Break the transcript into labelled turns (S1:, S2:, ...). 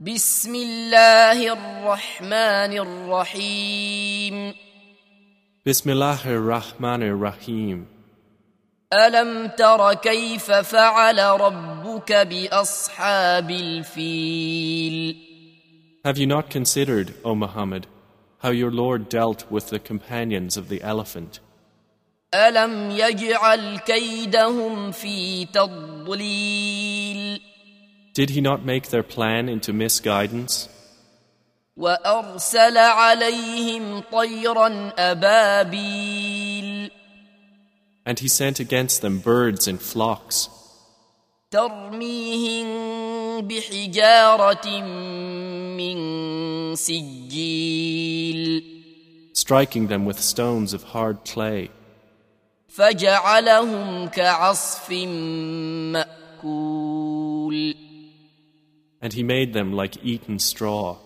S1: بسم الله الرحمن الرحيم
S2: Bismillahir Rahmanir Rahim.
S1: ألم تر كيف فعل ربك بأصحاب الفيل
S2: Have you not considered, O Muhammad, how your Lord dealt with the companions of the elephant?
S1: ألم يجعل كيدهم في تضليل
S2: Did he not make their plan into misguidance?
S1: وأرسل عليهم طيرا أبابيل
S2: And he sent against them birds in flocks,
S1: ترميهم بحجارة من سجيل
S2: striking them with stones of hard clay,
S1: فجعلهم كعصف مأكول
S2: and he made them like eaten straw.